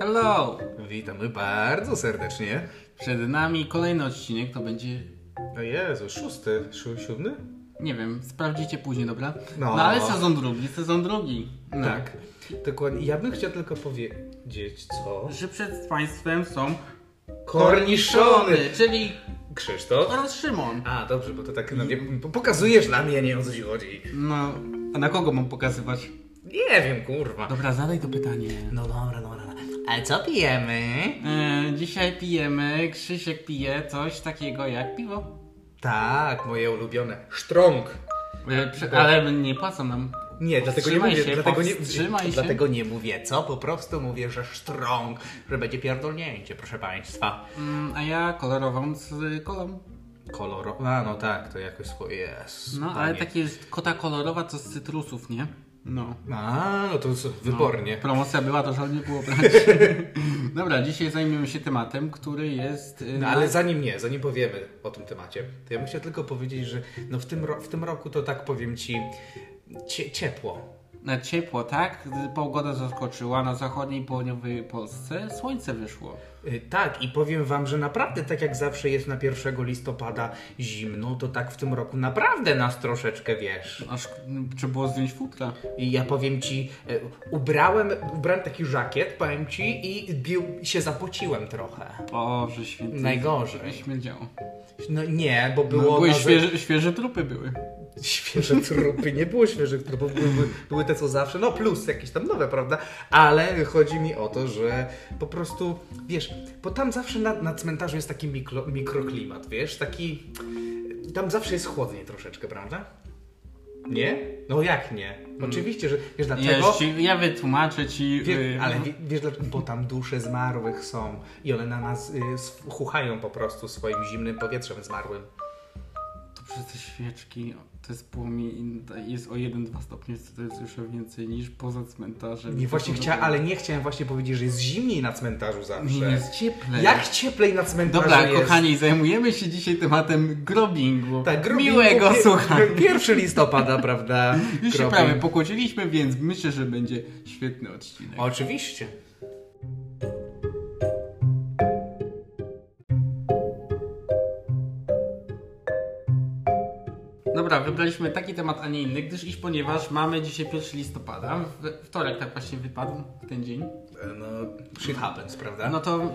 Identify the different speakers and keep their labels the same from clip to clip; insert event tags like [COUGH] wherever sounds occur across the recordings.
Speaker 1: Hello!
Speaker 2: Witamy bardzo serdecznie.
Speaker 1: Przed nami kolejny odcinek, to będzie,
Speaker 2: O Jezu, szósty, szó- siódmy?
Speaker 1: nie wiem, sprawdzicie później, dobra? No,
Speaker 2: No.
Speaker 1: ale sezon drugi, sezon drugi. No.
Speaker 2: Tak. Dokładnie. Ja bym chciał tylko powiedzieć, co?
Speaker 1: Że przed Państwem są
Speaker 2: Korniszony!
Speaker 1: czyli
Speaker 2: Krzysztof?
Speaker 1: oraz Szymon.
Speaker 2: A, dobrze, bo to tak na mnie pokazujesz na mnie, nie o co ci chodzi.
Speaker 1: No, a na kogo mam pokazywać?
Speaker 2: Nie wiem, kurwa.
Speaker 1: Dobra, zadaj to pytanie.
Speaker 2: No dobra, dobra. dobra. A co pijemy?
Speaker 1: E, dzisiaj pijemy, Krzysiek pije coś takiego jak piwo.
Speaker 2: Tak, moje ulubione. Sztrąg.
Speaker 1: E,
Speaker 2: Tak.
Speaker 1: prze, ale nie płacą nam.
Speaker 2: Nie, dlatego nie
Speaker 1: Powstrzymaj
Speaker 2: mówię,
Speaker 1: się,
Speaker 2: dlatego nie,
Speaker 1: powstrzymaj się.
Speaker 2: dlatego nie mówię, co? Po prostu mówię, że sztrąg, że będzie pierdolnięcie, proszę państwa.
Speaker 1: Mm, a ja kolorową z kolą.
Speaker 2: Koloro... A, no tak, to jakoś swoje jest.
Speaker 1: No, ale
Speaker 2: Panie.
Speaker 1: takie jest kota kolorowa, co z cytrusów, nie? No.
Speaker 2: A, no to z- wybornie.
Speaker 1: Promocja była, to żal nie było [LAUGHS] brać. Dobra, dzisiaj zajmiemy się tematem, który jest... y,
Speaker 2: No,
Speaker 1: na-
Speaker 2: ale zanim nie, zanim powiemy o tym temacie, to ja bym chciał tylko powiedzieć, że no w, tym ro- w tym roku to tak powiem ci cie- ciepło.
Speaker 1: Na ciepło, tak? Pogoda zaskoczyła na zachodniej i południowej Polsce. Słońce wyszło.
Speaker 2: Y, Tak, i powiem wam, że naprawdę tak jak zawsze jest na 1 listopada zimno, to tak w tym roku naprawdę nas troszeczkę wiesz.
Speaker 1: Aż mm, trzeba było zdjąć futra.
Speaker 2: I ja powiem ci, y, ubrałem, ubrałem taki żakiet, powiem ci, i bił, się zapociłem trochę.
Speaker 1: Boże święty.
Speaker 2: Najgorzej.
Speaker 1: Śmierdziało.
Speaker 2: No nie, bo
Speaker 1: No,
Speaker 2: było.
Speaker 1: były
Speaker 2: na-
Speaker 1: świeże, świeże trupy były.
Speaker 2: [LAUGHS] Świeże trupy, nie było świeżych trupów, były, były- były te co zawsze, no plus jakieś tam nowe, prawda? Ale chodzi mi o to, że po prostu, wiesz, bo tam zawsze na, na cmentarzu jest taki mikro, mikroklimat, wiesz, taki, tam zawsze jest chłodniej troszeczkę, prawda? Nie? No jak nie?
Speaker 1: Mm.
Speaker 2: Oczywiście, że, wiesz dlaczego?
Speaker 1: Ja, ci, ja wytłumaczę ci...
Speaker 2: Wie,
Speaker 1: y,
Speaker 2: ale wie, wiesz dlaczego? Bo tam dusze zmarłych są i one na nas y, s- chuchają po prostu swoim zimnym powietrzem zmarłym.
Speaker 1: To przez te świeczki, to jest płomień, jest o 1-2 stopnie, to jest już o więcej niż poza cmentarzem.
Speaker 2: Nie, właśnie
Speaker 1: To są
Speaker 2: chcia,
Speaker 1: dobre-
Speaker 2: ale nie chciałem właśnie powiedzieć, że jest zimniej na cmentarzu zawsze.
Speaker 1: Nie, jest cieplej.
Speaker 2: Jak cieplej na cmentarzu
Speaker 1: Dobra,
Speaker 2: jest.
Speaker 1: kochani, zajmujemy się dzisiaj tematem grobingu.
Speaker 2: Tak, grobingu, [LAUGHS]
Speaker 1: Miłego
Speaker 2: pie-
Speaker 1: słuchania.
Speaker 2: Pierwszy listopada, [LAUGHS] prawda?
Speaker 1: Już się
Speaker 2: grobing.
Speaker 1: prawie pokłóciliśmy, więc myślę, że będzie świetny odcinek.
Speaker 2: Oczywiście.
Speaker 1: Dobra, wybraliśmy taki temat, a nie inny, gdyż iż ponieważ mamy dzisiaj 1 listopada, w- wtorek tak właśnie wypadł, w ten dzień.
Speaker 2: No, shit happens, prawda?
Speaker 1: No to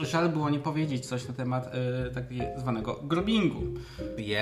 Speaker 1: żal było nie powiedzieć coś na temat y, tak zwanego grobingu.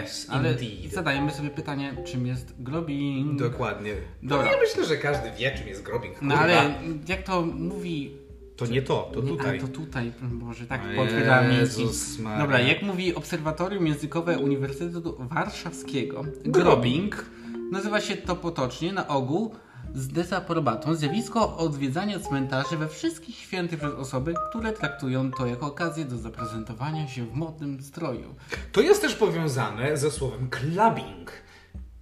Speaker 2: yes,
Speaker 1: Ale
Speaker 2: indeed.
Speaker 1: zadajemy sobie pytanie, czym jest grobing?
Speaker 2: Dokładnie.
Speaker 1: Dobra.
Speaker 2: No, ja myślę, że każdy wie, czym jest grobing.
Speaker 1: No
Speaker 2: kurwa.
Speaker 1: ale jak to mówi...
Speaker 2: To nie to, to
Speaker 1: nie,
Speaker 2: tutaj.
Speaker 1: A, to tutaj, Boże, tak
Speaker 2: O
Speaker 1: potwierdza
Speaker 2: Jezus Maria.
Speaker 1: Dobra, jak mówi Obserwatorium Językowe Uniwersytetu Warszawskiego,
Speaker 2: Grobing.
Speaker 1: grobing nazywa się to potocznie na ogół z dezaprobatą zjawisko odwiedzania cmentarzy we wszystkich świętych przez osoby, które traktują to jako okazję do zaprezentowania się w modnym stroju.
Speaker 2: To jest też powiązane ze słowem clubbing.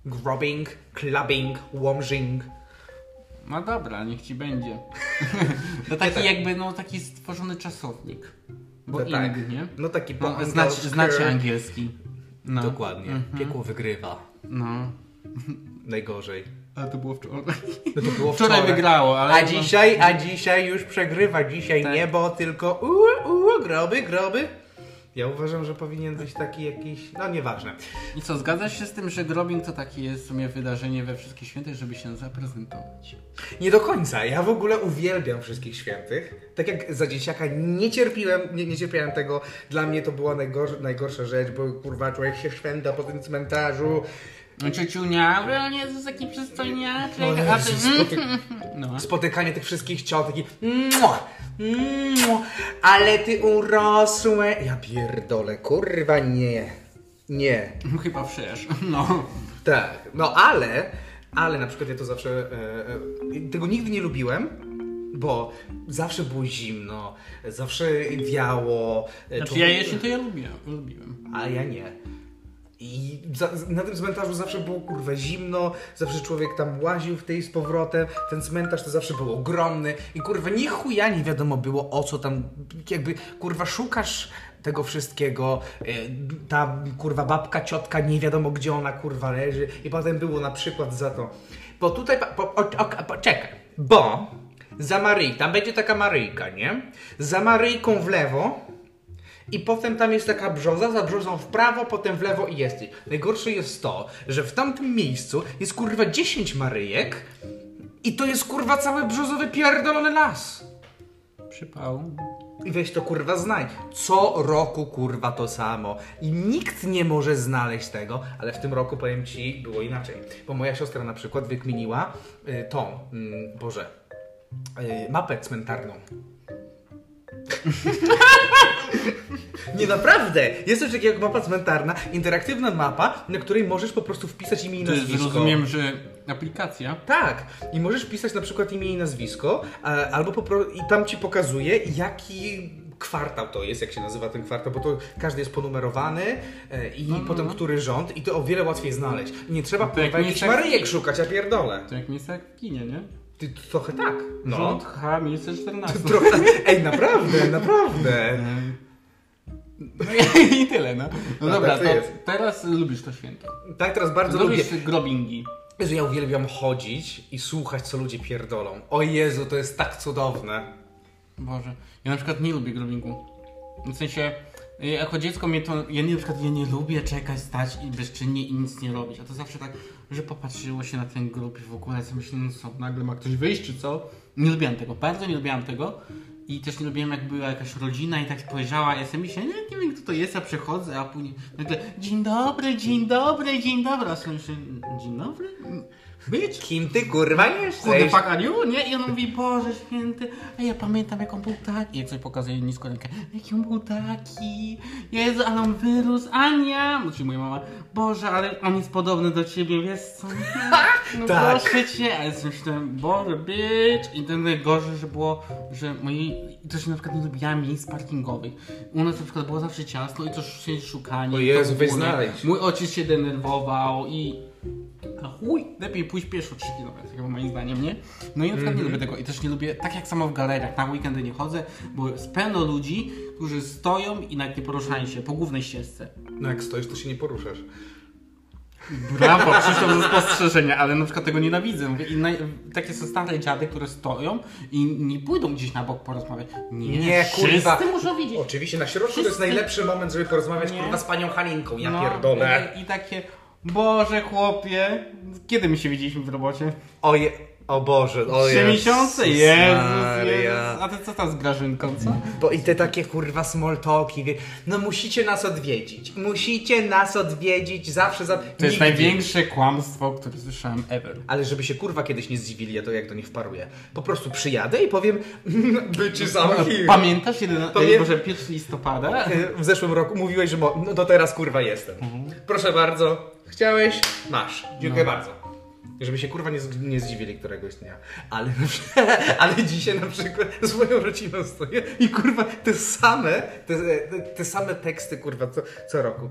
Speaker 2: Grobbing, clubbing, łomżing.
Speaker 1: No dobra, niech ci będzie. [LAUGHS] To taki
Speaker 2: tak.
Speaker 1: jakby, no taki stworzony czasownik. Bo
Speaker 2: No
Speaker 1: tak.
Speaker 2: tak.
Speaker 1: nie?
Speaker 2: No taki po
Speaker 1: No, znacie,
Speaker 2: angielsku.
Speaker 1: znacie angielski. No.
Speaker 2: Dokładnie. Piekło wygrywa.
Speaker 1: No.
Speaker 2: Najgorzej.
Speaker 1: Ale to było wczoraj.
Speaker 2: No to było
Speaker 1: Wczoraj wygrało, ale...
Speaker 2: A
Speaker 1: no-
Speaker 2: dzisiaj, a dzisiaj już przegrywa. Dzisiaj
Speaker 1: Tak.
Speaker 2: niebo, tylko uuu, uuu, groby, groby. Ja uważam, że powinien być taki jakiś... No nieważne.
Speaker 1: I co, zgadzasz się z tym, że grobing to takie jest w sumie wydarzenie we wszystkich świętych, żeby się zaprezentować?
Speaker 2: Nie do końca. Ja w ogóle uwielbiam Wszystkich Świętych. Tak jak za dzieciaka nie cierpiłem, nie, nie cierpiałem tego. Dla mnie to była najgorz, najgorsza rzecz, bo kurwa człowiek się szwenda po tym cmentarzu.
Speaker 1: No ciociunia, ale nie jest taki przystojniaczek,
Speaker 2: O
Speaker 1: a ty...
Speaker 2: Jezus, No, spoty-
Speaker 1: No.
Speaker 2: spotykanie tych wszystkich ciot, taki mua, mua, ale ty urosłe. Ja pierdolę, kurwa nie. Nie.
Speaker 1: Chyba przecież, no.
Speaker 2: Tak, no ale, ale na przykład ja to zawsze, e, e, tego nigdy nie lubiłem, bo zawsze było zimno, zawsze wiało. e,
Speaker 1: Znaczy
Speaker 2: człowiek-
Speaker 1: ja jeśli to ja lubię, lubiłem.
Speaker 2: A ja nie. I za, z- na tym cmentarzu zawsze było kurwa zimno, zawsze człowiek tam łaził w tej z powrotem, ten cmentarz to zawsze był ogromny i kurwa ni chuja nie wiadomo było o co tam, jakby kurwa szukasz tego wszystkiego, e, ta kurwa babka, ciotka, nie wiadomo gdzie ona kurwa leży i potem było na przykład za to, bo tutaj, pa- po, o, o, po, czekaj, bo Za Maryi, tam będzie taka Maryjka, nie? Za Maryjką w lewo i potem tam jest taka brzoza, za brzozą w prawo, potem w lewo i jesteś. Najgorsze jest to, że w tamtym miejscu jest kurwa 10 Maryjek i to jest kurwa cały brzozowy pierdolony las.
Speaker 1: Przypał.
Speaker 2: I weź to kurwa znaj. Co roku kurwa to samo. I nikt nie może znaleźć tego, ale w tym roku powiem ci, było inaczej. Bo moja siostra na przykład wykminiła y, tą, mm, Boże, y, mapę cmentarną. [LAUGHS] Nie, naprawdę! Jest coś takiego jak mapa cmentarna, interaktywna mapa, na której możesz po prostu wpisać imię i
Speaker 1: To jest,
Speaker 2: nazwisko.
Speaker 1: rozumiem, że aplikacja.
Speaker 2: Tak, i możesz pisać na przykład imię i nazwisko, a, albo po pro... i tam ci pokazuje, jaki kwartał to jest, jak się nazywa ten kwartał, bo to każdy jest ponumerowany e, i
Speaker 1: No,
Speaker 2: potem który rząd i to o wiele łatwiej znaleźć. Nie trzeba
Speaker 1: To jak
Speaker 2: kurwa jakichś
Speaker 1: miejsce-
Speaker 2: maryjek szukać, ja pierdolę.
Speaker 1: To jak miejsce jak w kinie, nie?
Speaker 2: Ty trochę tak. No.
Speaker 1: Rząd H, miejsce 14.
Speaker 2: Trochę... [LAUGHS] Ej, naprawdę, naprawdę.
Speaker 1: No i, i tyle, no. No
Speaker 2: No
Speaker 1: dobra,
Speaker 2: tak to
Speaker 1: to
Speaker 2: jest.
Speaker 1: teraz lubisz to święto.
Speaker 2: Tak teraz bardzo lubię.
Speaker 1: Lubisz grobingi.
Speaker 2: Jezu, ja uwielbiam chodzić i słuchać, co ludzie pierdolą. O Jezu, to jest tak cudowne.
Speaker 1: Boże, ja na przykład nie lubię grobingu. W sensie, y, jako dziecko mnie to, ja nie, na przykład ja nie lubię czekać, stać i bezczynnie i nic nie robić. A to zawsze tak, że popatrzyło się na ten grób i w ogóle sobie myślę, no co, nagle ma ktoś wyjść czy co? Nie lubiłam tego, bardzo nie lubiłam tego. I też nie lubiłam, jak była jakaś rodzina i tak spojrzała, ja sobie myślę, nie, nie wiem kto to jest, ja przechodzę, a później nagle dzień dobry, dzień dobry, dzień dobry, a sobie myślę, dzień dobry? Być?
Speaker 2: Kim ty kurwa
Speaker 1: Kurde
Speaker 2: jesteś?
Speaker 1: pakaniu, nie? I on mówi, Boże święty, a ja pamiętam jak on był taki, jak coś pokazuje nisko rękę, jaki on był taki, Jezu, ale on wyrósł, Ania, mówi moja mama, Boże, ale on jest podobny do ciebie, wiesz co? No
Speaker 2: Tak.
Speaker 1: proszę cię, a ja sobie myślałem, Boże, bitch, i ten najgorsze, że było, że moi, i też na przykład nie lubiłam miejsc parkingowych, u nas na przykład było zawsze ciasno i to się szukanie,
Speaker 2: O
Speaker 1: i
Speaker 2: Jezu,
Speaker 1: to w
Speaker 2: weź
Speaker 1: górę.
Speaker 2: znajdź.
Speaker 1: Mój ojciec się denerwował i a chuj, lepiej pójść pieszo 3 km, chyba moim zdaniem, nie? No i na przykład nie lubię tego i też nie lubię, tak jak samo w galeriach, na weekendy nie chodzę, bo jest pełno ludzi, którzy stoją i nawet nie poruszają się po głównej ścieżce.
Speaker 2: No jak stoisz, to się nie poruszasz.
Speaker 1: Brawo, przyszło do spostrzeżenia, ale na przykład tego nienawidzę. Mówię, I naj... takie są stare dziady, które stoją i nie pójdą gdzieś na bok porozmawiać. Nie,
Speaker 2: Nie, kurwa.
Speaker 1: wszyscy muszą widzieć.
Speaker 2: Oczywiście, na środku to jest
Speaker 1: Wszyscy-
Speaker 2: najlepszy moment, żeby porozmawiać
Speaker 1: Nie.
Speaker 2: kurwa z panią Halinką, ja
Speaker 1: No,
Speaker 2: pierdolę.
Speaker 1: I, I takie, Boże chłopie, kiedy my się widzieliśmy w robocie?
Speaker 2: Oje, o Boże, o
Speaker 1: Trzy
Speaker 2: Jezus
Speaker 1: miesiące? Jezus,
Speaker 2: Maria.
Speaker 1: Jezus. A ty co tam z Grażynką, co?
Speaker 2: Bo i te takie kurwa smoltoki, wie- no musicie nas odwiedzić, musicie nas odwiedzić, zawsze za...
Speaker 1: To jest największe kłamstwo, które słyszałem ever.
Speaker 2: Ale żeby się kurwa kiedyś nie zdziwili, ja to jak do nich wparuję. Po prostu przyjadę i powiem, [LAUGHS] bycie zamki.
Speaker 1: E, Pamiętasz 11,
Speaker 2: Pamię-
Speaker 1: może 1 listopada?
Speaker 2: E, W zeszłym roku mówiłeś, że mo... no to teraz kurwa jestem. Proszę bardzo, chciałeś, masz. Dziękuję bardzo. Żeby się kurwa nie, z- nie zdziwili któregoś dnia. Ale, na przy- [LAUGHS] ale dzisiaj na przykład z moją rodziną stoję i kurwa te same, te, te same teksty kurwa co, co roku.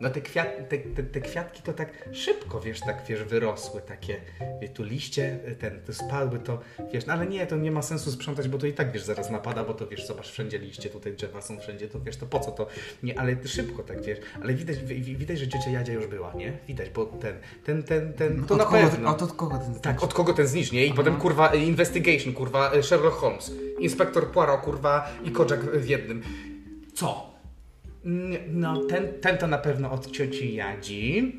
Speaker 2: No te, kwiat, te, te, te kwiatki to tak szybko, wiesz, tak wiesz, wyrosły takie, wie, tu liście, y, ten, te spadły, to wiesz, no ale nie, to nie ma sensu sprzątać, bo to i tak, wiesz, zaraz napada, bo to wiesz, zobacz, wszędzie liście, tutaj drzewa są wszędzie, to wiesz, to po co to, nie, ale szybko tak, wiesz, ale widać, wi- wi- widać że ciocia Jadzia już była, nie, widać, bo ten, ten, ten, ten, to
Speaker 1: od
Speaker 2: na
Speaker 1: kogo,
Speaker 2: pewno.
Speaker 1: Od, od kogo ten
Speaker 2: Tak, od kogo ten znicz, nie? I potem kurwa y, investigation, kurwa y, Sherlock Holmes, inspektor Poirot, kurwa i Kojak y, w jednym. Co? Mm, No, ten, ten to na pewno od cioci Jadzi.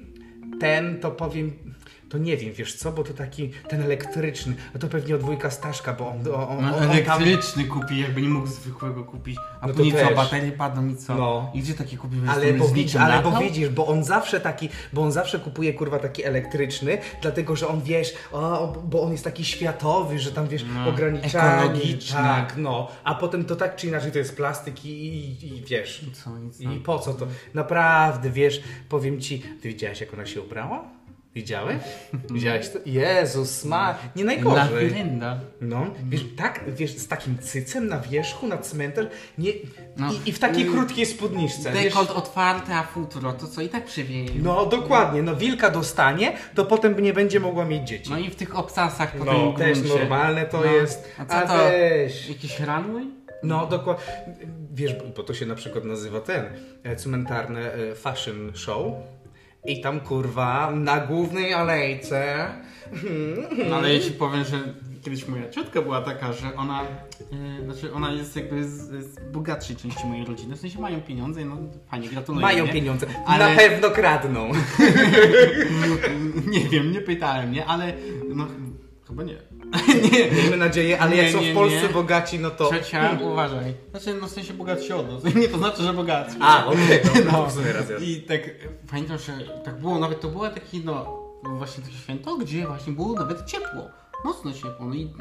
Speaker 2: Ten to powiem, to nie wiem, wiesz co, bo to taki, ten elektryczny, no to pewnie od wujka Staszka, bo on, on, on, on,
Speaker 1: No,
Speaker 2: on tam...
Speaker 1: elektryczny kupi, jakby nie mógł zwykłego kupić. A
Speaker 2: No to
Speaker 1: później co,
Speaker 2: też.
Speaker 1: baterie padną i co?
Speaker 2: No.
Speaker 1: I gdzie takie kupimy?
Speaker 2: Ale,
Speaker 1: Jesteśmy
Speaker 2: bo,
Speaker 1: z
Speaker 2: widz,
Speaker 1: niczym
Speaker 2: ale
Speaker 1: na
Speaker 2: bo
Speaker 1: to?
Speaker 2: widzisz, bo on zawsze taki, bo on zawsze kupuje kurwa taki elektryczny, dlatego że on wiesz, o, bo on jest taki światowy, że tam wiesz,
Speaker 1: No,
Speaker 2: ograniczany.
Speaker 1: ekologiczny.
Speaker 2: Tak, no. A potem to tak czy inaczej to jest plastik i, i, i wiesz.
Speaker 1: Co, nic
Speaker 2: I po co to? Naprawdę, wiesz, powiem ci, ty widziałeś jak ona się ubrała?
Speaker 1: [LAUGHS]
Speaker 2: Widziałeś? Widziałeś to? Jezus, ma. Nie
Speaker 1: no. Na
Speaker 2: najgorzej.
Speaker 1: wyrenda.
Speaker 2: No, wiesz, tak, wiesz, z takim cycem na wierzchu, na cmentarz, nie,
Speaker 1: No.
Speaker 2: i, i w takiej krótkiej spódniczce. wiesz?
Speaker 1: Dekolt otwarty, a futro, to co i tak przywieje. No.
Speaker 2: No dokładnie, no wilka dostanie, to potem nie będzie mogła mieć dzieci.
Speaker 1: No i w tych obcasach po
Speaker 2: No,
Speaker 1: tym
Speaker 2: też
Speaker 1: gruncie.
Speaker 2: normalne to jest.
Speaker 1: A co
Speaker 2: A
Speaker 1: to?
Speaker 2: weź.
Speaker 1: Jakiś runway?
Speaker 2: No dokładnie, wiesz, bo- bo to się na przykład nazywa ten e, cmentarny e, fashion show. I tam kurwa na głównej alejce.
Speaker 1: No ale ja ci powiem, że kiedyś moja ciotka była taka, że ona, e, znaczy ona jest jakby z, z bogatszej części mojej rodziny, w sensie mają pieniądze, i no fajnie, gratuluję.
Speaker 2: Mają
Speaker 1: nie?
Speaker 2: pieniądze,
Speaker 1: Ale-
Speaker 2: na pewno kradną.
Speaker 1: Nie wiem, nie pytałem, nie, ale no chyba nie. [LAUGHS] nie.
Speaker 2: [LAUGHS] Miejmy nadzieję, ale
Speaker 1: Nie,
Speaker 2: jak są
Speaker 1: nie,
Speaker 2: w Polsce
Speaker 1: nie.
Speaker 2: bogaci, no to...
Speaker 1: Ciocia, uważaj. Znaczy, no w sensie bogatsi od nas. [LAUGHS] Nie to znaczy, że bogatsi. [LAUGHS]
Speaker 2: A, okej, no,
Speaker 1: No.
Speaker 2: w sumie racja.
Speaker 1: I tak e, pamiętam, że tak było, nawet to było taki, no właśnie takie święto, gdzie właśnie było nawet ciepło. Mocno ciepło. No i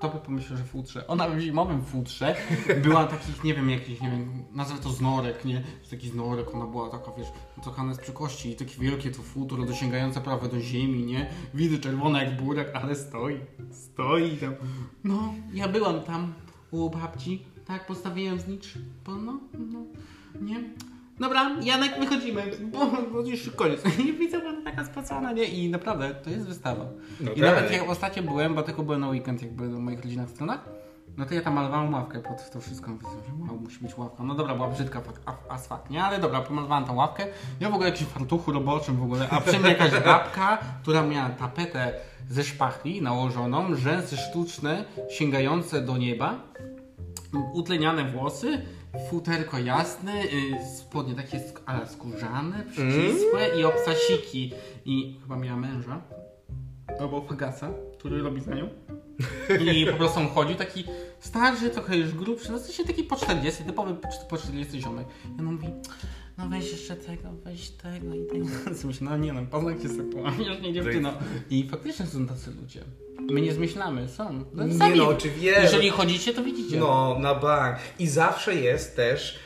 Speaker 1: to by pomyślał, że w futrze. Ona w zimowym futrze była takich, nie wiem, jakichś, nie wiem, nazwę to znorek, nie? Że Taki znorek, ona była taka, wiesz, cofana z przykości i takie wielkie to futro dosięgające prawie do ziemi, nie? Widy czerwone jak burak, ale stoi, stoi tam. No, ja byłam tam u babci, tak, postawiłem znicz, bo no, no. Nie? Dobra, Janek, wychodzimy, bo, bo No, już koniec. [LAUGHS] I widzę, że ona taka spacona, nie? I naprawdę, to jest wystawa.
Speaker 2: No
Speaker 1: I
Speaker 2: tak.
Speaker 1: nawet jak ostatnio byłem, bo tylko byłem na weekend jakby w moich rodzinach stronach, no to ja tam malowałem ławkę pod to wszystko. Widzę, że wow, musi być ławka. No dobra, była brzydka fak- a- as fuck, nie? Ale dobra, pomalowałem tą ławkę. Ja w ogóle jakiś fartuchu roboczym w ogóle, a przy mnie jakaś babka, która miała tapetę ze szpachli nałożoną, rzęsy sztuczne sięgające do nieba utleniane włosy, futerko jasne, y, spodnie takie sk- ale skórzane, przycisłe
Speaker 2: Mm.
Speaker 1: i obsasiki. I chyba miała męża, albo fagasa, który robi za nią. I po prostu on chodził taki starszy, trochę już grubszy, no w sensie taki po 40, typowy po- po 40 ziomek. I on mówi, no weź jeszcze tego, weź tego [LAUGHS] i tego. Co Myślę, no nie no, poznaj się sobie, już nie dziewczyno. I faktycznie są tacy ludzie. My nie zmyślamy, są. No,
Speaker 2: Nie
Speaker 1: sami.
Speaker 2: no, oczywiście.
Speaker 1: Jeżeli chodzicie, to widzicie.
Speaker 2: No, na bank. I zawsze jest też.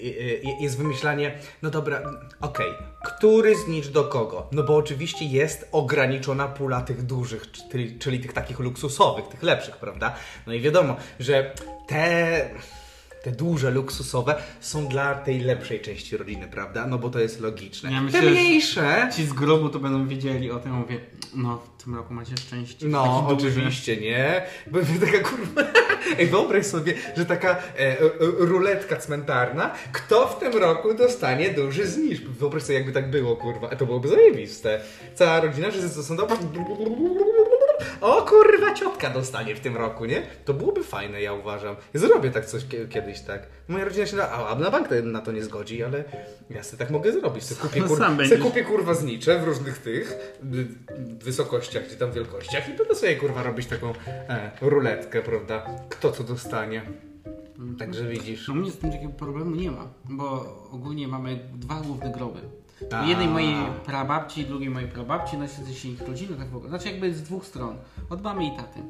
Speaker 2: i- i- Jest wymyślanie, no dobra, okej, który znicz do kogo? No bo oczywiście jest ograniczona pula tych dużych, czyli, czyli tych takich luksusowych, tych lepszych, prawda? No i wiadomo, że te, te duże, luksusowe są dla tej lepszej części rodziny, prawda? No bo to jest logiczne.
Speaker 1: Ja
Speaker 2: te
Speaker 1: myślę, że-
Speaker 2: mniejsze,
Speaker 1: Ci z grobu to będą wiedzieli o tym, mówię, no w tym roku macie szczęście.
Speaker 2: No,
Speaker 1: Taki duży.
Speaker 2: oczywiście, nie? Bo [LAUGHS] taka kurwa. Ej, wyobraź sobie, że taka e, e, ruletka cmentarna, kto w tym roku dostanie duży zniż? Wyobraź sobie, jakby tak było, kurwa. A to byłoby zajebiste. Cała rodzina, że ze sądowa. O kurwa, ciotka dostanie w tym roku, nie? To byłoby fajne, ja uważam. Zrobię tak coś kie- kiedyś, tak. Moja rodzina się na, a a na bank to- na to nie zgodzi, ale ja sobie tak mogę zrobić. Se kupię,
Speaker 1: No,
Speaker 2: kur...
Speaker 1: sam
Speaker 2: se
Speaker 1: będziesz.
Speaker 2: kupię kurwa znicze w różnych tych y, wysokościach, czy tam wielkościach i będę sobie kurwa robić taką e, ruletkę, prawda? Kto co dostanie. Także widzisz.
Speaker 1: No u mnie z tym takiego problemu nie ma, bo ogólnie mamy dwa główne groby.
Speaker 2: Ta.
Speaker 1: Jednej mojej prababci i drugiej mojej prababci, no w sensie ich rodziny, tak w ogóle. Znaczy jakby z dwóch stron, od mamy i taty.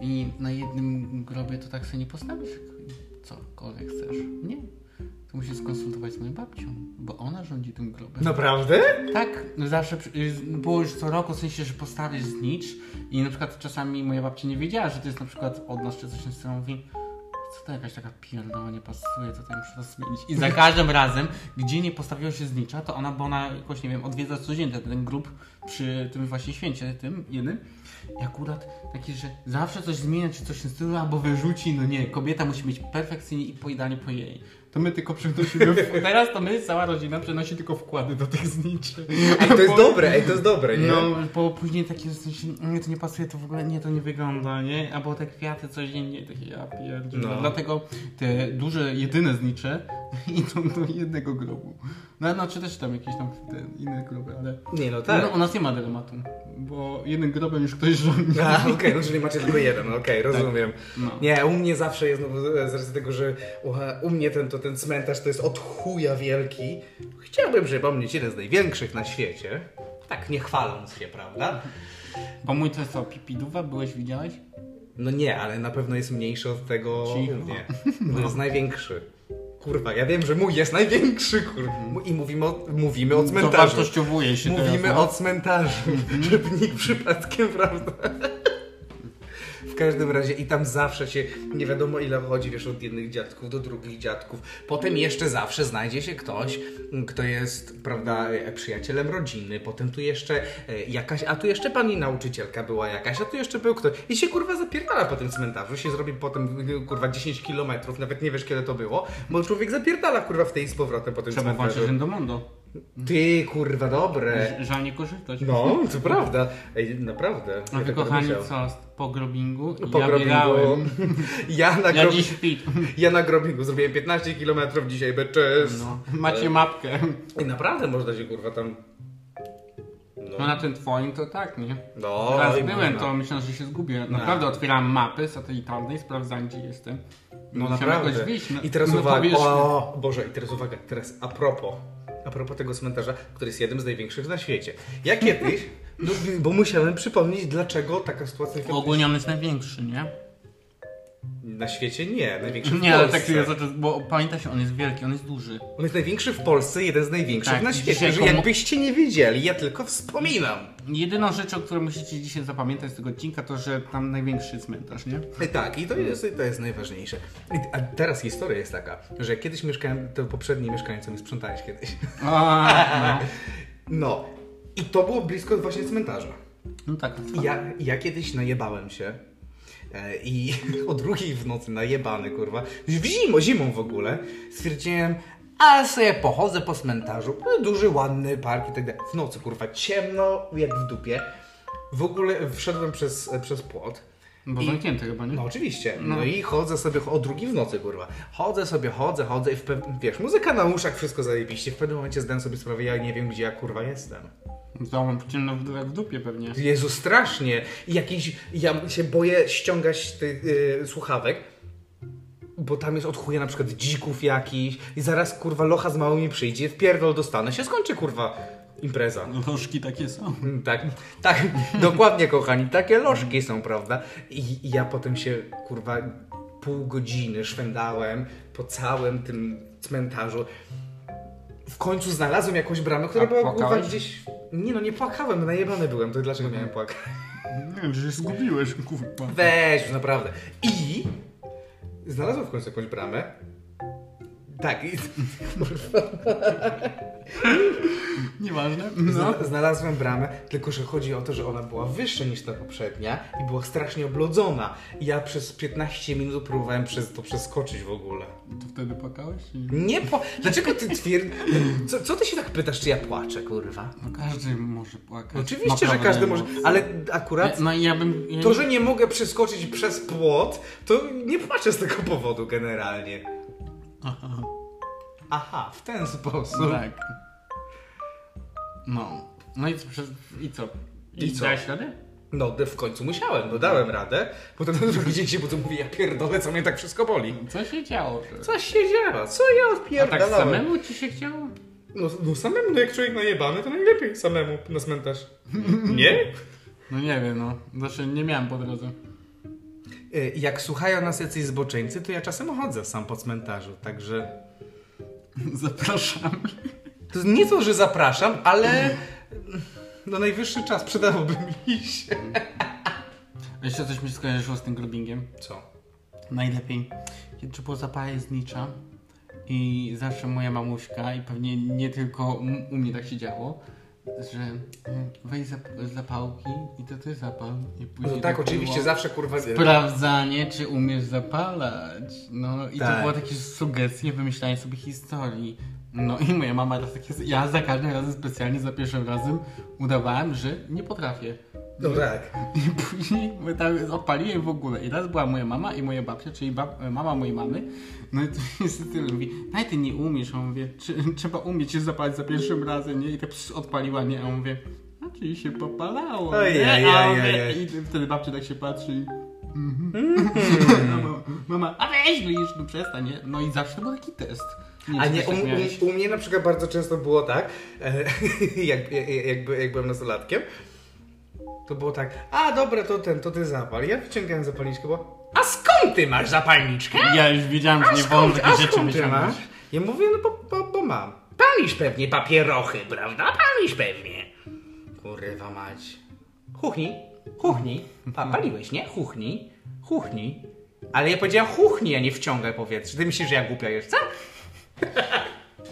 Speaker 1: I na jednym grobie to tak sobie nie postawisz cokolwiek chcesz. Nie. To musisz skonsultować z moją babcią, bo ona rządzi tym grobem.
Speaker 2: Naprawdę?
Speaker 1: Tak, no zawsze przy- y, było już co roku, w sensie, że postawisz znicz i na przykład czasami moja babcia nie wiedziała, że to jest na przykład od nas czy coś w stylu, mówi co to jakaś taka pierdoła nie pasuje, to tam muszę to zmienić. I za każdym razem, gdzie nie postawiło się znicza, to ona, bo ona jakoś, nie wiem, odwiedza codziennie ten, ten grup przy tym właśnie święcie, tym jednym. I akurat takie, że zawsze coś zmienia, czy coś w tym stylu, albo wyrzuci, no nie, kobieta musi być perfekcyjnie i po idealnie po jej. To my tylko przynosimy,
Speaker 2: [LAUGHS]
Speaker 1: w... teraz to my, cała rodzina przynosi tylko wkłady do tych zniczy.
Speaker 2: Ej, to jest dobre, ej, to jest dobre, nie?
Speaker 1: No, bo później takie w sensie, nie, to nie pasuje, to w ogóle nie, to nie wygląda, nie? Albo te kwiaty codziennie, takie ja pierdzielę.
Speaker 2: No.
Speaker 1: Dlatego te duże, jedyne znicze [LAUGHS] idą do jednego grobu. No, no czy też tam jakieś tam te inne groby, ale...
Speaker 2: Nie no tak.
Speaker 1: No, u nas nie ma dylematu, bo jednym grobem już ktoś rządzi.
Speaker 2: A, okej, no czyli macie tylko jeden, okej, rozumiem.
Speaker 1: No.
Speaker 2: Nie, u mnie zawsze jest, no, bo z racji tego, że ucha, u mnie ten, to, ten cmentarz to jest od chuja wielki. Chciałbym przypomnieć jeden z największych na świecie. Tak, nie chwaląc się, prawda?
Speaker 1: Bo mój to jest co, pipiduwa? Byłeś, widziałeś?
Speaker 2: No nie, ale na pewno jest mniejszy od tego
Speaker 1: Cicho.
Speaker 2: u mnie. To jest największy. Kurwa, ja wiem, że mój jest największy, kurwa. I mówimy o, mówimy o
Speaker 1: To
Speaker 2: cmentarzu.
Speaker 1: wartościowuje się Mhm.
Speaker 2: Mówimy
Speaker 1: teraz, no.
Speaker 2: o cmentarzu, żeby nikt przypadkiem, prawda? W każdym razie i tam zawsze się nie wiadomo ile chodzi, wiesz, od jednych dziadków do drugich dziadków. Potem jeszcze zawsze znajdzie się ktoś, m, kto jest, prawda, e, przyjacielem rodziny. Potem tu jeszcze e, jakaś, a tu jeszcze pani nauczycielka była jakaś, a tu jeszcze był ktoś. I się kurwa zapierdala po tym cmentarzu, się zrobi potem e, kurwa 10 kilometrów, nawet nie wiesz kiedy to było, bo człowiek zapierdala kurwa w tej z powrotem po tym
Speaker 1: Trzeba Mhm.
Speaker 2: cmentarzu.
Speaker 1: walczyć rzędomondo.
Speaker 2: Ty, kurwa, dobre.
Speaker 1: Ż- Żal nie korzystać.
Speaker 2: No, to prawda. Ej, naprawdę.
Speaker 1: A
Speaker 2: Ja
Speaker 1: wy
Speaker 2: tak
Speaker 1: kochani,
Speaker 2: myślałem. No,
Speaker 1: co z pogrobingu?
Speaker 2: Po
Speaker 1: ja
Speaker 2: grobingu.
Speaker 1: biegałem.
Speaker 2: [LAUGHS] Ja na,
Speaker 1: Ja
Speaker 2: grob...
Speaker 1: dziś pit.
Speaker 2: ja na grobingu zrobiłem 15 km dzisiaj, beczesz.
Speaker 1: No. Macie mapkę.
Speaker 2: I naprawdę można się kurwa tam...
Speaker 1: No na tym twoim to tak, nie?
Speaker 2: No,
Speaker 1: Raz
Speaker 2: i
Speaker 1: byłem,
Speaker 2: można.
Speaker 1: to myślałem, że się zgubię. Naprawdę otwierałem mapy satelitarne i sprawdzałem, gdzie jestem.
Speaker 2: No
Speaker 1: Musiałem
Speaker 2: naprawdę.
Speaker 1: jakoś wyjść No, na-
Speaker 2: I teraz
Speaker 1: na
Speaker 2: uwaga.
Speaker 1: powierzchnię.
Speaker 2: O, Boże, i teraz uwaga, teraz a propos. A propos tego cmentarza, który jest jednym z największych na świecie. Ja
Speaker 1: [LAUGHS]
Speaker 2: kiedyś, no, bo musiałem przypomnieć, dlaczego taka sytuacja
Speaker 1: Ogólnie on jest największy, nie?
Speaker 2: na świecie nie, największy w
Speaker 1: Nie, ale
Speaker 2: Polsce.
Speaker 1: tak jest, bo pamięta się, on jest wielki, on jest duży.
Speaker 2: On jest największy w Polsce, jeden z największych
Speaker 1: Tak,
Speaker 2: na
Speaker 1: i
Speaker 2: świecie.
Speaker 1: dzisiaj
Speaker 2: Że
Speaker 1: komu-
Speaker 2: jakbyście nie wiedzieli, ja tylko wspominam.
Speaker 1: Jedyną rzeczą, którą musicie dzisiaj zapamiętać z tego odcinka, to że tam największy cmentarz, nie?
Speaker 2: I Tak, i to jest, to jest najważniejsze. I, a teraz historia jest taka, że kiedyś mieszkałem, to poprzedni mieszkanie, co mi sprzątałeś kiedyś.
Speaker 1: A, no.
Speaker 2: No, i to było blisko właśnie cmentarza.
Speaker 1: no tak.
Speaker 2: I Ja, ja kiedyś najebałem się e, i [LAUGHS] o drugiej w nocy najebany, kurwa, w zimą, zimą w ogóle, stwierdziłem, a sobie pochodzę po cmentarzu, No, duży, ładny park i tak dalej. W nocy, kurwa, ciemno jak w dupie. W ogóle wszedłem przez, e, przez płot.
Speaker 1: Bo
Speaker 2: I-
Speaker 1: zamknięty chyba, nie?
Speaker 2: No oczywiście. No, i chodzę sobie o drugi w nocy, kurwa. Chodzę sobie, chodzę, chodzę i w pew... wiesz, muzyka na uszach, wszystko zajebiście. W pewnym momencie zdałem sobie sprawę, ja nie wiem, gdzie ja kurwa jestem.
Speaker 1: Załam ciemno w, jak w dupie pewnie.
Speaker 2: Jezu, strasznie. I Jakiś, ja się boję ściągać tych y, słuchawek, bo tam jest od chuja na przykład dzików jakiś i zaraz kurwa locha z małymi przyjdzie, w pierdol dostanę, się skończy kurwa impreza.
Speaker 1: Lożki takie są.
Speaker 2: Mm, Tak, tak, [LAUGHS] dokładnie kochani, takie lożki są, prawda? I, i ja potem się, kurwa, pół godziny szwendałem po całym tym cmentarzu. W końcu znalazłem jakąś bramę, która
Speaker 1: A
Speaker 2: była kurwa
Speaker 1: płakałeś?
Speaker 2: gdzieś... Nie no, nie płakałem, najebany byłem, to dlaczego miałem płakać?
Speaker 1: Nie wiem, że się zgubiłeś, kurwa.
Speaker 2: Weź, już naprawdę. I znalazłem w końcu jakąś bramę. Tak, i
Speaker 1: Nieważne.
Speaker 2: Zna-
Speaker 1: No.
Speaker 2: Znalazłem bramę, tylko że chodzi o to, że ona była wyższa niż ta poprzednia i była strasznie oblodzona. I ja przez 15 minut próbowałem przez to przeskoczyć w ogóle.
Speaker 1: To wtedy płakałeś? czy nie?
Speaker 2: Nie po... Dlaczego ty twierdzisz... Co, co ty się tak pytasz, czy ja płaczę, kurwa?
Speaker 1: No każdy może płakać.
Speaker 2: Oczywiście, że
Speaker 1: No, Naprawdę
Speaker 2: każdy może...
Speaker 1: emocje.
Speaker 2: Ale akurat...
Speaker 1: No i ja bym... Ja
Speaker 2: To,
Speaker 1: nie-
Speaker 2: że nie mogę przeskoczyć przez płot, to nie płaczę z tego powodu generalnie.
Speaker 1: Aha.
Speaker 2: Aha, w ten sposób.
Speaker 1: Tak. No. No i co? przez- I co?
Speaker 2: I co?
Speaker 1: Dałeś radę?
Speaker 2: No, w końcu musiałem, no dałem radę. Potem [LAUGHS] na drugi dzień się budzę, mówię, ja pierdolę, co mnie tak wszystko boli.
Speaker 1: Co się działo?
Speaker 2: Coś się dzieje, co ja
Speaker 1: A tak
Speaker 2: odpierdalałem?
Speaker 1: samemu ci się chciało?
Speaker 2: No, no samemu, no jak człowiek najebany, to najlepiej samemu na [LAUGHS] cmentarz. Nie?
Speaker 1: No nie wiem, no. Znaczy nie miałem po drodze. [LAUGHS]
Speaker 2: Y, Jak słuchają nas jacyś zboczeńcy, to ja czasem chodzę sam po cmentarzu, także...
Speaker 1: Zapraszam.
Speaker 2: To nie to, że zapraszam, ale... No najwyższy czas przydałoby mi się.
Speaker 1: Jeszcze coś mi się skojarzyło z tym grubingiem.
Speaker 2: Co?
Speaker 1: Najlepiej. Kiedy czy było zapale znicza i zawsze moja mamuśka i pewnie nie tylko m- u mnie tak się działo, że mm, weź zap zapałki i to ty zapal. I
Speaker 2: No
Speaker 1: później
Speaker 2: tak,
Speaker 1: było
Speaker 2: oczywiście, zawsze kurwa...
Speaker 1: Sprawdzanie, czy umiesz zapalać. No i
Speaker 2: Tak.
Speaker 1: to było takie sugestie, wymyślanie sobie historii. No i moja mama raz takie, ja za każdym razem specjalnie za pierwszym razem udawałem, że nie potrafię.
Speaker 2: No tak.
Speaker 1: I później my tam odpaliłem w ogóle. I raz była moja mama i moja babcia, czyli bab mama mojej mamy. No i tu [LAUGHS] niestety mówi, no ty nie umiesz. A on mówię, "Trze- trzeba umieć się zapalić za pierwszym razem, nie? I tak psz, odpaliła mnie, a on mówię, a czyli się popalało,
Speaker 2: Ojej,
Speaker 1: nie? A on
Speaker 2: ojej,
Speaker 1: wie,
Speaker 2: ojej. Mm-hmm.
Speaker 1: I wtedy babcia tak się patrzy i... Mhm. [LAUGHS] mama, mama, a weź już, no przestań, nie? No i zawsze to był taki test.
Speaker 2: A
Speaker 1: czy
Speaker 2: nie,
Speaker 1: też
Speaker 2: u,
Speaker 1: tak miałeś?
Speaker 2: u, u mnie na przykład bardzo często było tak, e, [LAUGHS] jak, jak, jak, by- jak byłem nastolatkiem, to było tak, a dobra, to ten, to ty zapal. Ja wyciągałem zapalniczkę, bo a skąd ty masz zapalniczkę?
Speaker 1: Ja już wiedziałem, że
Speaker 2: A
Speaker 1: nie wolno
Speaker 2: skąd, a
Speaker 1: takich rzeczy
Speaker 2: skąd ty
Speaker 1: wyciągać.
Speaker 2: masz? Ja mówię, no bo, bo, bo mam. Palisz pewnie papierochy, prawda? Palisz pewnie. Kurwa mać. Huchnij, huchnij.
Speaker 1: [LAUGHS]
Speaker 2: Pa, paliłeś, nie? Huchnij, huchnij. Ale ja powiedziałem huchnij, a nie wciągaj powietrze. Ty myślisz, że ja głupia jestem?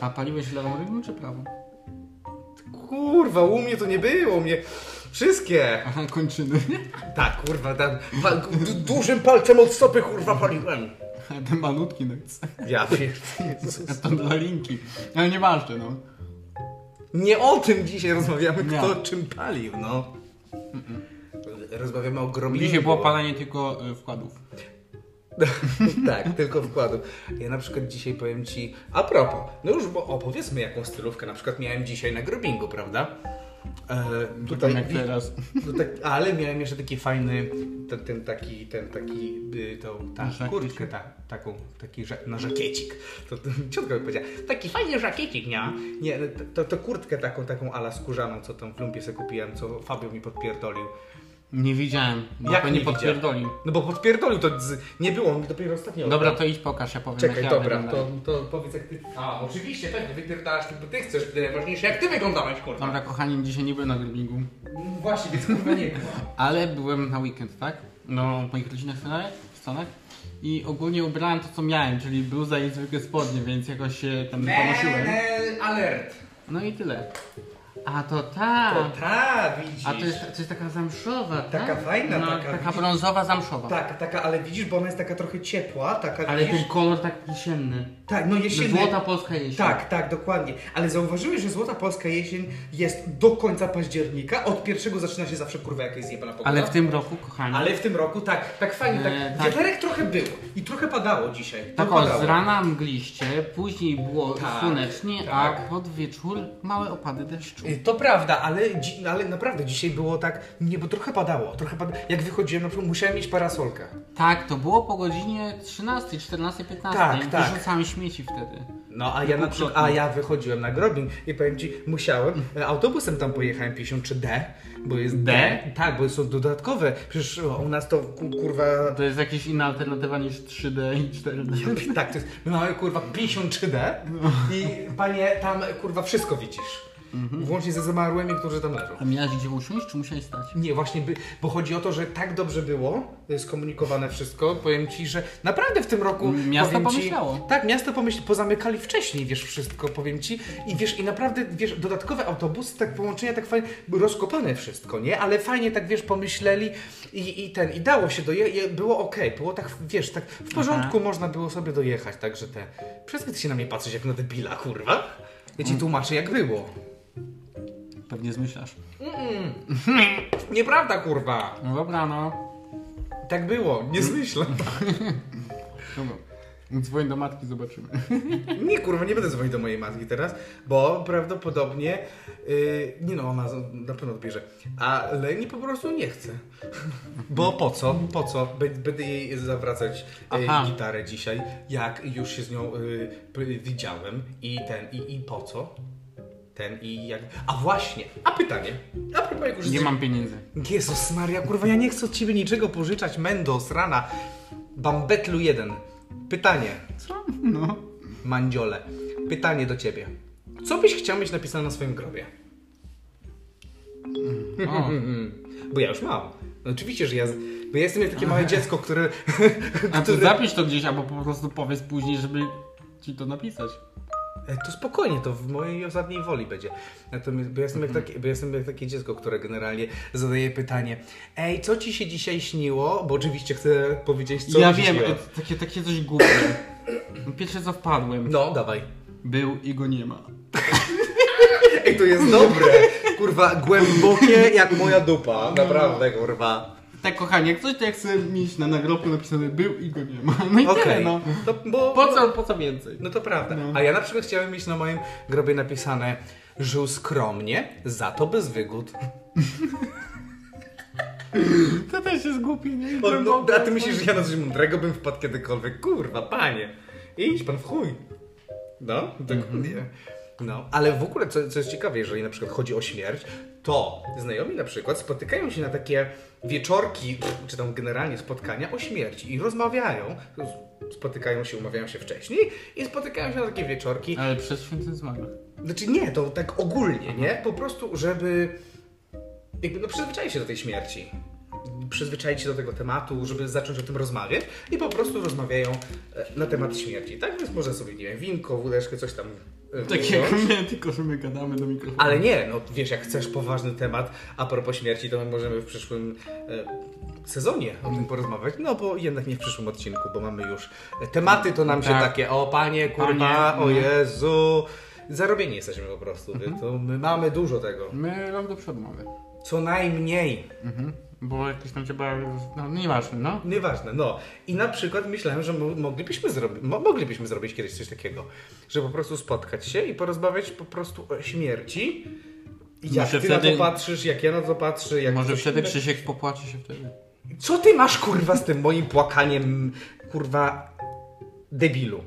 Speaker 1: A paliłeś lewą ręką czy prawą?
Speaker 2: Kurwa, u mnie to nie było, u mnie wszystkie.
Speaker 1: Aha, [LAUGHS] kończyny.
Speaker 2: Tak, kurwa, tam pa, du, dużym palcem od stopy kurwa paliłem.
Speaker 1: Ale Ten malutki no jest.
Speaker 2: Ja pierd- Jezus.
Speaker 1: To dla linki. Ale nieważne, no.
Speaker 2: Nie o tym dzisiaj rozmawiamy,
Speaker 1: Nie.
Speaker 2: kto czym palił, no. Rozmawiamy o gromniku.
Speaker 1: Dzisiaj było palenie tylko y, wkładów.
Speaker 2: [LAUGHS] tak, tylko wkładu. Ja na przykład dzisiaj powiem Ci, a propos, no już bo opowiedzmy jaką stylówkę na przykład miałem dzisiaj na grobingu, prawda? E,
Speaker 1: Tutaj jak teraz.
Speaker 2: No tak, ale miałem jeszcze taki fajny, ten, ten taki, ten taki, y, tą, ta
Speaker 1: Żakiecik.
Speaker 2: kurtkę, ta, taką, taki, ża- no żakiecik, to, to ciotka mi powiedziała, taki fajny żakiecik, nie? Nie, no, to, to kurtkę taką, taką ala skórzaną, co tam w lumpie sobie kupiłem, co Fabio mi podpierdolił.
Speaker 1: Nie widziałem. Bo
Speaker 2: Jak
Speaker 1: No, to
Speaker 2: nie
Speaker 1: nie
Speaker 2: widział?
Speaker 1: podpierdolił.
Speaker 2: No bo podpierdolił, to z, nie było, on mi dopiero ostatnio
Speaker 1: Dobra, tak. to idź pokaż, ja powiem
Speaker 2: Czekaj,
Speaker 1: jak ja
Speaker 2: dobra, to,
Speaker 1: wyglądałem.
Speaker 2: to powiedz jak ty... A, oczywiście, tak, wypierdalasz ty, bo ty chcesz, ty najważniejsze, jak ty wyglądałeś, kurwa.
Speaker 1: Dobra, kochani, dzisiaj nie byłem na grubingu.
Speaker 2: Właśnie, więc kurwa nie, kurwa.
Speaker 1: Ale byłem na weekend, tak? No, w moich rodzinnych Stanach- w Stanach. I ogólnie ubrałem to, co miałem, czyli bluza i zwykłe spodnie, więc jakoś się tam nie ponosiłem.
Speaker 2: Menel alert.
Speaker 1: No i tyle. A to ta!
Speaker 2: To ta, tak, widzisz.
Speaker 1: Tak. A to jest, to jest taka zamszowa, tak?
Speaker 2: Taka fajna, taka,
Speaker 1: Taka
Speaker 2: widzisz?
Speaker 1: brązowa zamszowa.
Speaker 2: Tak, taka, ale widzisz, bo ona jest taka trochę ciepła, taka
Speaker 1: Ale
Speaker 2: widzisz...
Speaker 1: ten kolor tak jesienny.
Speaker 2: Tak, no jesienny...
Speaker 1: Złota polska jesień.
Speaker 2: Tak, tak, dokładnie. Ale zauważyłeś, że Złota Polska jesień jest do końca października, od pierwszego zaczyna się zawsze kurwa jakaś zjebana pogoda.
Speaker 1: Ale w tym roku, kochani,
Speaker 2: Ale w tym roku tak, tak fajnie, tak,
Speaker 1: Eee,
Speaker 2: eee,
Speaker 1: tak.
Speaker 2: trochę było i trochę padało dzisiaj.
Speaker 1: tak o,
Speaker 2: padało.
Speaker 1: z rana mgliście, później było
Speaker 2: Tak,
Speaker 1: słonecznie,
Speaker 2: tak.
Speaker 1: a pod wieczór małe opady deszczu.
Speaker 2: Y, To prawda, ale, dzi- ale naprawdę dzisiaj było tak, nie, bo trochę padało, trochę pada... jak wychodziłem, na przykład musiałem mieć parasolkę.
Speaker 1: Tak, to było po godzinie 13, 14, 15.
Speaker 2: Tak, tak.
Speaker 1: Wyrzucałem śmieci wtedy.
Speaker 2: No a ja na przykład, a ja wychodziłem na grobin i powiem ci, musiałem, e, autobusem tam pojechałem 53D, bo jest
Speaker 1: D?
Speaker 2: Tak, bo są dodatkowe. Przecież o, u nas to ku- kurwa. [LAUGHS]
Speaker 1: To jest jakaś inna alternatywa niż 3D i 4D.
Speaker 2: Tak, to jest. My mamy kurwa 53D i panie, tam kurwa wszystko widzisz. Włącznie ze zamarłymi, którzy tam leżą.
Speaker 1: A miałeś gdzie usiąść, czy musiałeś stać?
Speaker 2: Nie, właśnie, by, bo chodzi o to, że tak dobrze było y, skomunikowane wszystko. Powiem ci, że naprawdę w tym roku.
Speaker 1: Miasto
Speaker 2: powiem ci-
Speaker 1: pomyślało.
Speaker 2: Tak, miasto pomyślało. Pozamykali wcześniej, wiesz, wszystko, powiem ci. I wiesz, i naprawdę, wiesz, dodatkowe autobusy, tak połączenia, tak fajnie, rozkopane wszystko, nie? Ale fajnie tak, wiesz, pomyśleli i, i ten, i dało się dojechać. Było okej, było tak, wiesz, tak w porządku można było sobie dojechać, także te. Przestań ty się na mnie patrzeć jak na debila, kurwa. Ja
Speaker 1: Mm.
Speaker 2: ci tłumaczę, jak było.
Speaker 1: Pewnie zmyślasz.
Speaker 2: Nieprawda, kurwa.
Speaker 1: No dobra, no.
Speaker 2: Tak było, nie
Speaker 1: Mm.
Speaker 2: zmyślam.
Speaker 1: Dobra. Dzwoń do matki, zobaczymy.
Speaker 2: Nie, kurwa, nie będę dzwonił do mojej matki teraz, bo prawdopodobnie. Yy, nie no, ona z- na pewno odbierze. Ale nie po prostu nie chce. [LAUGHS] Bo po co? Po co? Bę- Będę jej zawracać yy,
Speaker 1: Aha.
Speaker 2: gitarę dzisiaj, jak już się z nią yy, p- widziałem i ten, i, i po co? Ten i jak. A właśnie, a pytanie. A propos, jak już
Speaker 1: Nie
Speaker 2: z-
Speaker 1: mam pieniędzy.
Speaker 2: Jezus Maria, kurwa, ja nie chcę od ciebie niczego pożyczać, Mendo, srana. Bambetlu 1. Pytanie.
Speaker 1: Co? No.
Speaker 2: Mandziole, pytanie do ciebie. Co byś chciał mieć napisane na swoim grobie?
Speaker 1: O.
Speaker 2: Mm, Bo ja już mam. No oczywiście, że ja. z- Bo ja jestem jak takie
Speaker 1: [LAUGHS]
Speaker 2: małe dziecko, które. [LAUGHS]
Speaker 1: A ty
Speaker 2: które...
Speaker 1: zapisz to gdzieś, albo po prostu powiedz później, żeby ci to napisać.
Speaker 2: E, To spokojnie, to w mojej ostatniej woli będzie. Natomiast, bo, ja jestem jak
Speaker 1: Mhm.
Speaker 2: takie, bo ja jestem jak takie dziecko, które generalnie zadaje pytanie: Ej, co ci się dzisiaj śniło? Bo oczywiście chcę powiedzieć, co
Speaker 1: ja
Speaker 2: mi się
Speaker 1: wiem,
Speaker 2: śniło.
Speaker 1: e, takie, takie coś głupie. No Pierwsze co wpadłem,
Speaker 2: No, dawaj.
Speaker 1: był i go nie ma.
Speaker 2: Ej, to [LAUGHS] jest dobre. Kurwa, głębokie jak moja dupa.
Speaker 1: No.
Speaker 2: Naprawdę, kurwa.
Speaker 1: Tak kochanie, jak coś to ja chcę mieć na nagrobku napisane był i go nie ma. No i tyle
Speaker 2: Okej.
Speaker 1: no.
Speaker 2: To- bo-
Speaker 1: Po co, po co więcej?
Speaker 2: No to prawda. A ja na przykład chciałem mieć na moim grobie napisane Żył skromnie, za to bez [LAUGHS] wygód.
Speaker 1: To też jest głupie, nie?
Speaker 2: O, no, a ty myślisz, że ja na coś mądrego bym wpadł kiedykolwiek? Kurwa, panie. Idź pan w chuj. No, tak nie. No, ale w ogóle, co, co jest ciekawe, jeżeli na przykład chodzi o śmierć, to znajomi na przykład spotykają się na takie wieczorki, pff, czy tam generalnie spotkania o śmierci i rozmawiają, spotykają się, umawiają się wcześniej i spotykają się na takie wieczorki
Speaker 1: Ale przez święty zmarłych.
Speaker 2: Znaczy nie, to tak ogólnie, nie? Po prostu, żeby jakby no przyzwyczaić się do tej śmierci. Przyzwyczaić się do tego tematu, żeby zacząć o tym rozmawiać i po prostu rozmawiają e, na temat śmierci, tak? Więc może sobie, nie wiem, winko, wódeczkę, coś tam... e,
Speaker 1: Tak
Speaker 2: wziąć.
Speaker 1: jak nie, tylko że my gadamy do mikrofonu.
Speaker 2: Ale nie, no wiesz, jak chcesz poważny temat a propos śmierci, to my możemy w przyszłym e, sezonie o tym porozmawiać. No bo jednak nie w przyszłym odcinku, bo mamy już tematy, to nam się
Speaker 1: Tak.
Speaker 2: takie, o panie, kurwa,
Speaker 1: Panie, Mhm.
Speaker 2: o
Speaker 1: no.
Speaker 2: Jezu. zarobieni jesteśmy po prostu. To my mamy dużo tego.
Speaker 1: My rok do przodu mamy.
Speaker 2: Co najmniej.
Speaker 1: Mhm. Bo jakieś tam trzeba. No nieważne, no.
Speaker 2: Nieważne, no. I na przykład myślałem, że mo- moglibyśmy, zrobi- mo- moglibyśmy zrobić kiedyś coś takiego, że po prostu spotkać się i porozmawiać po prostu o śmierci. I jak
Speaker 1: Może
Speaker 2: ty na
Speaker 1: wtedy-
Speaker 2: to patrzysz, jak ja na to patrzę, jak
Speaker 1: Może
Speaker 2: ktoś
Speaker 1: wtedy
Speaker 2: inny-
Speaker 1: Krzysiek popłacze się wtedy.
Speaker 2: Co ty masz, kurwa, z tym moim płakaniem, kurwa, debilu?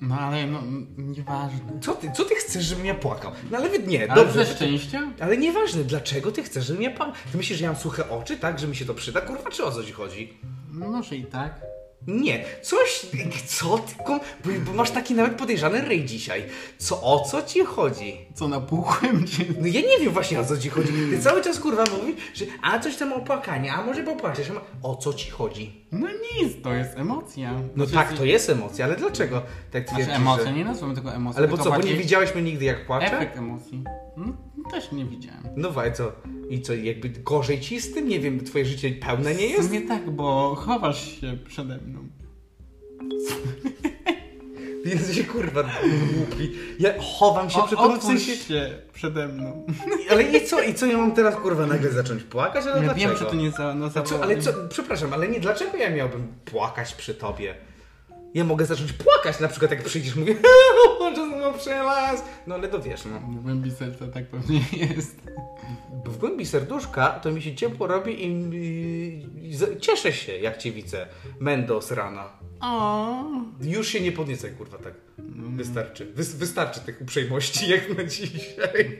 Speaker 1: No ale no, m, nieważne.
Speaker 2: Co ty, co ty chcesz, żebym ja płakał? No ale wy- nie,
Speaker 1: Ale
Speaker 2: dobrze.
Speaker 1: ze szczęścia?
Speaker 2: Ale nieważne, dlaczego ty chcesz, żebym ja płakał? Ty myślisz, że ja mam suche oczy, tak, że mi się to przyda? Kurwa, czy o co ci chodzi?
Speaker 1: No może i tak.
Speaker 2: Nie, coś, co ty, kom- bo, bo masz taki nawet podejrzany ryj dzisiaj. Co, o co ci chodzi?
Speaker 1: Co na puchłym [LAUGHS] czy.
Speaker 2: No ja nie wiem właśnie o co ci chodzi. Ty cały czas kurwa mówisz, że a coś tam o płakanie, a może popłaczesz. a ma- O co ci chodzi?
Speaker 1: No nic, to jest emocja.
Speaker 2: No
Speaker 1: Znaczy,
Speaker 2: tak, to jest emocja, ale dlaczego tak twierdzisz,
Speaker 1: Znaczy emocje,
Speaker 2: że...
Speaker 1: nie nazywam tego emocją.
Speaker 2: Ale bo
Speaker 1: tylko
Speaker 2: co, bo nie
Speaker 1: bardziej
Speaker 2: widziałeś mnie nigdy jak płaczę?
Speaker 1: Efekt emocji. No też nie widziałem.
Speaker 2: No waj, co? I co, jakby gorzej ci z tym? Nie wiem, twoje życie pełne nie jest? [LAUGHS]
Speaker 1: Nie tak, bo chowasz się przede mną.
Speaker 2: Więc się kurwa głupi. Ja chowam się
Speaker 1: O,
Speaker 2: przed tobą w
Speaker 1: otwórz
Speaker 2: sensie...
Speaker 1: się przede mną.
Speaker 2: Ale i co, i co ja mam teraz kurwa nagle zacząć płakać? Ale
Speaker 1: [LAUGHS] Ja
Speaker 2: No dlaczego?
Speaker 1: wiem, że to nie za, no, za
Speaker 2: A co, ale co, przepraszam, ale nie, dlaczego ja miałbym płakać przy tobie? Ja mogę zacząć płakać, na przykład jak przyjdziesz, mówię, [LAUGHS] że znowu przelaz. No ale to wiesz, no.
Speaker 1: W głębi serca tak pewnie [LAUGHS] jest.
Speaker 2: Bo W głębi serduszka to mi się ciepło robi i, i, i z- cieszę się, jak cię widzę. Mendo z rana.
Speaker 1: O.
Speaker 2: Już się nie podniecaj, kurwa, tak. Wystarczy. Wys, wystarczy tych uprzejmości, jak na dzisiaj.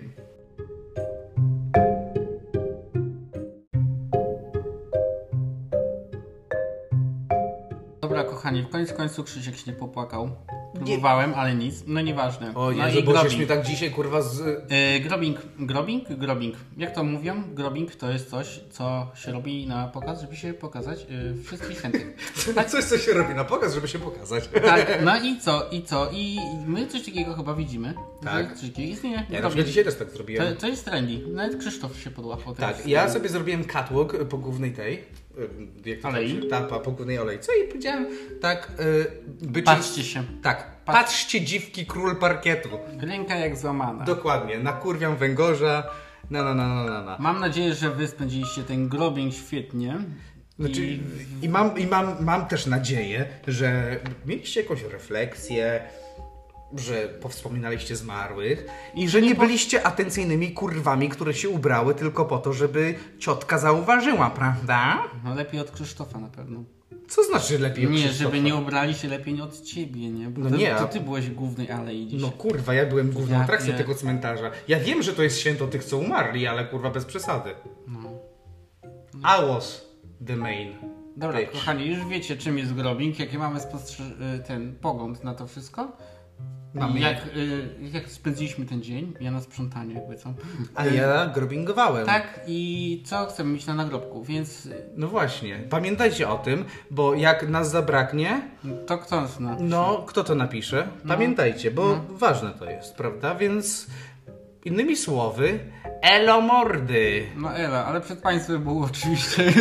Speaker 1: Dobra, kochani, w końcu końcu Krzysiek się nie popłakał. Próbowałem, ale nic. No nieważne.
Speaker 2: O
Speaker 1: no
Speaker 2: Jezu, bo żeś mnie tak dzisiaj, kurwa, z...
Speaker 1: Y, grobing, grobing, grobing. Jak to mówią? Grobing to jest coś, co się robi na pokaz, żeby się pokazać y, wszystkich chętnych.
Speaker 2: Coś, co się robi na pokaz, żeby się pokazać.
Speaker 1: Tak, no i co, i co? I my coś takiego chyba widzimy.
Speaker 2: Tak.
Speaker 1: Że coś takiego istnieje.
Speaker 2: Ja na
Speaker 1: Grobing.
Speaker 2: przykład dzisiaj też tak zrobiłem.
Speaker 1: To, to jest trendy. Nawet Krzysztof się podłapał. teraz.
Speaker 2: Tak, ja sobie zrobiłem catwalk po głównej tej. y, Jak to
Speaker 1: Alei.
Speaker 2: się- Ta, pa, po głównej olejce i powiedziałem tak, y, bycie,
Speaker 1: Patrzcie się.
Speaker 2: tak,
Speaker 1: patrz-
Speaker 2: patrzcie dziwki król parkietu.
Speaker 1: Ręka jak złamana.
Speaker 2: Dokładnie, nakurwiam węgorza, na na na na na na.
Speaker 1: Mam nadzieję, że wy spędziliście ten grobing świetnie.
Speaker 2: Znaczy,
Speaker 1: I...
Speaker 2: i mam, i mam, mam też nadzieję, że mieliście jakąś refleksję, że powspominaliście zmarłych i że nie byliście atencyjnymi kurwami, które się ubrały tylko po to, żeby ciotka zauważyła, prawda?
Speaker 1: No lepiej od Krzysztofa na pewno.
Speaker 2: Co znaczy lepiej od
Speaker 1: Nie,
Speaker 2: Krzysztofa?
Speaker 1: żeby nie ubrali się lepiej od ciebie, nie? Bo
Speaker 2: No
Speaker 1: to,
Speaker 2: nie,
Speaker 1: to
Speaker 2: a-
Speaker 1: ty byłeś w głównej alei dziś.
Speaker 2: No kurwa, ja byłem główną
Speaker 1: Ja
Speaker 2: atrakcją
Speaker 1: nie.
Speaker 2: tego cmentarza. Ja wiem, że to jest święto tych, co umarli, ale kurwa bez przesady.
Speaker 1: No.
Speaker 2: I was the main.
Speaker 1: Dobra,
Speaker 2: bitch.
Speaker 1: kochani, już wiecie czym jest grobing, jakie mamy spostrze- y, ten pogląd na to wszystko.
Speaker 2: Mamy.
Speaker 1: I Jak, y, jak spędziliśmy ten dzień, ja na sprzątanie jakby co.
Speaker 2: A ja grobingowałem.
Speaker 1: Tak i co chcemy mieć na nagrobku, więc y,
Speaker 2: No właśnie. Pamiętajcie o tym, bo jak nas zabraknie,
Speaker 1: to kto nas na...
Speaker 2: no kto to napisze?
Speaker 1: No.
Speaker 2: Pamiętajcie, bo ważne to jest, prawda? Więc innymi słowy, elomordy.
Speaker 1: No Ela, ale przed Państwem był oczywiście...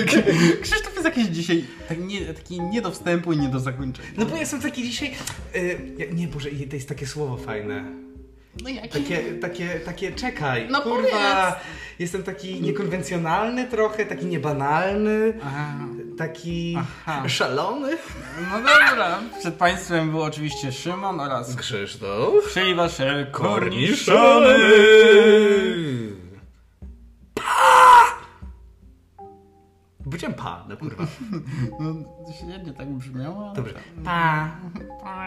Speaker 1: Krzysztof jest jakiś dzisiaj tak nie, taki nie do wstępu i nie do zakończenia.
Speaker 2: No bo ja jestem taki dzisiaj... y, ja- nie, Boże, to jest takie słowo fajne.
Speaker 1: No jaki...
Speaker 2: Takie, takie, takie, czekaj,
Speaker 1: No
Speaker 2: kurwa, jestem taki niekonwencjonalny trochę, taki niebanalny,
Speaker 1: Aha.
Speaker 2: taki
Speaker 1: Aha.
Speaker 2: szalony.
Speaker 1: No dobra, przed Państwem był oczywiście Szymon oraz
Speaker 2: Krzysztof
Speaker 1: Czyli wasze
Speaker 2: Korniszony!
Speaker 1: korniszony!
Speaker 2: Byciem pa, no kurwa.
Speaker 1: No, średnio tak brzmiało. ale-
Speaker 2: Dobrze. Pa.
Speaker 1: Pa.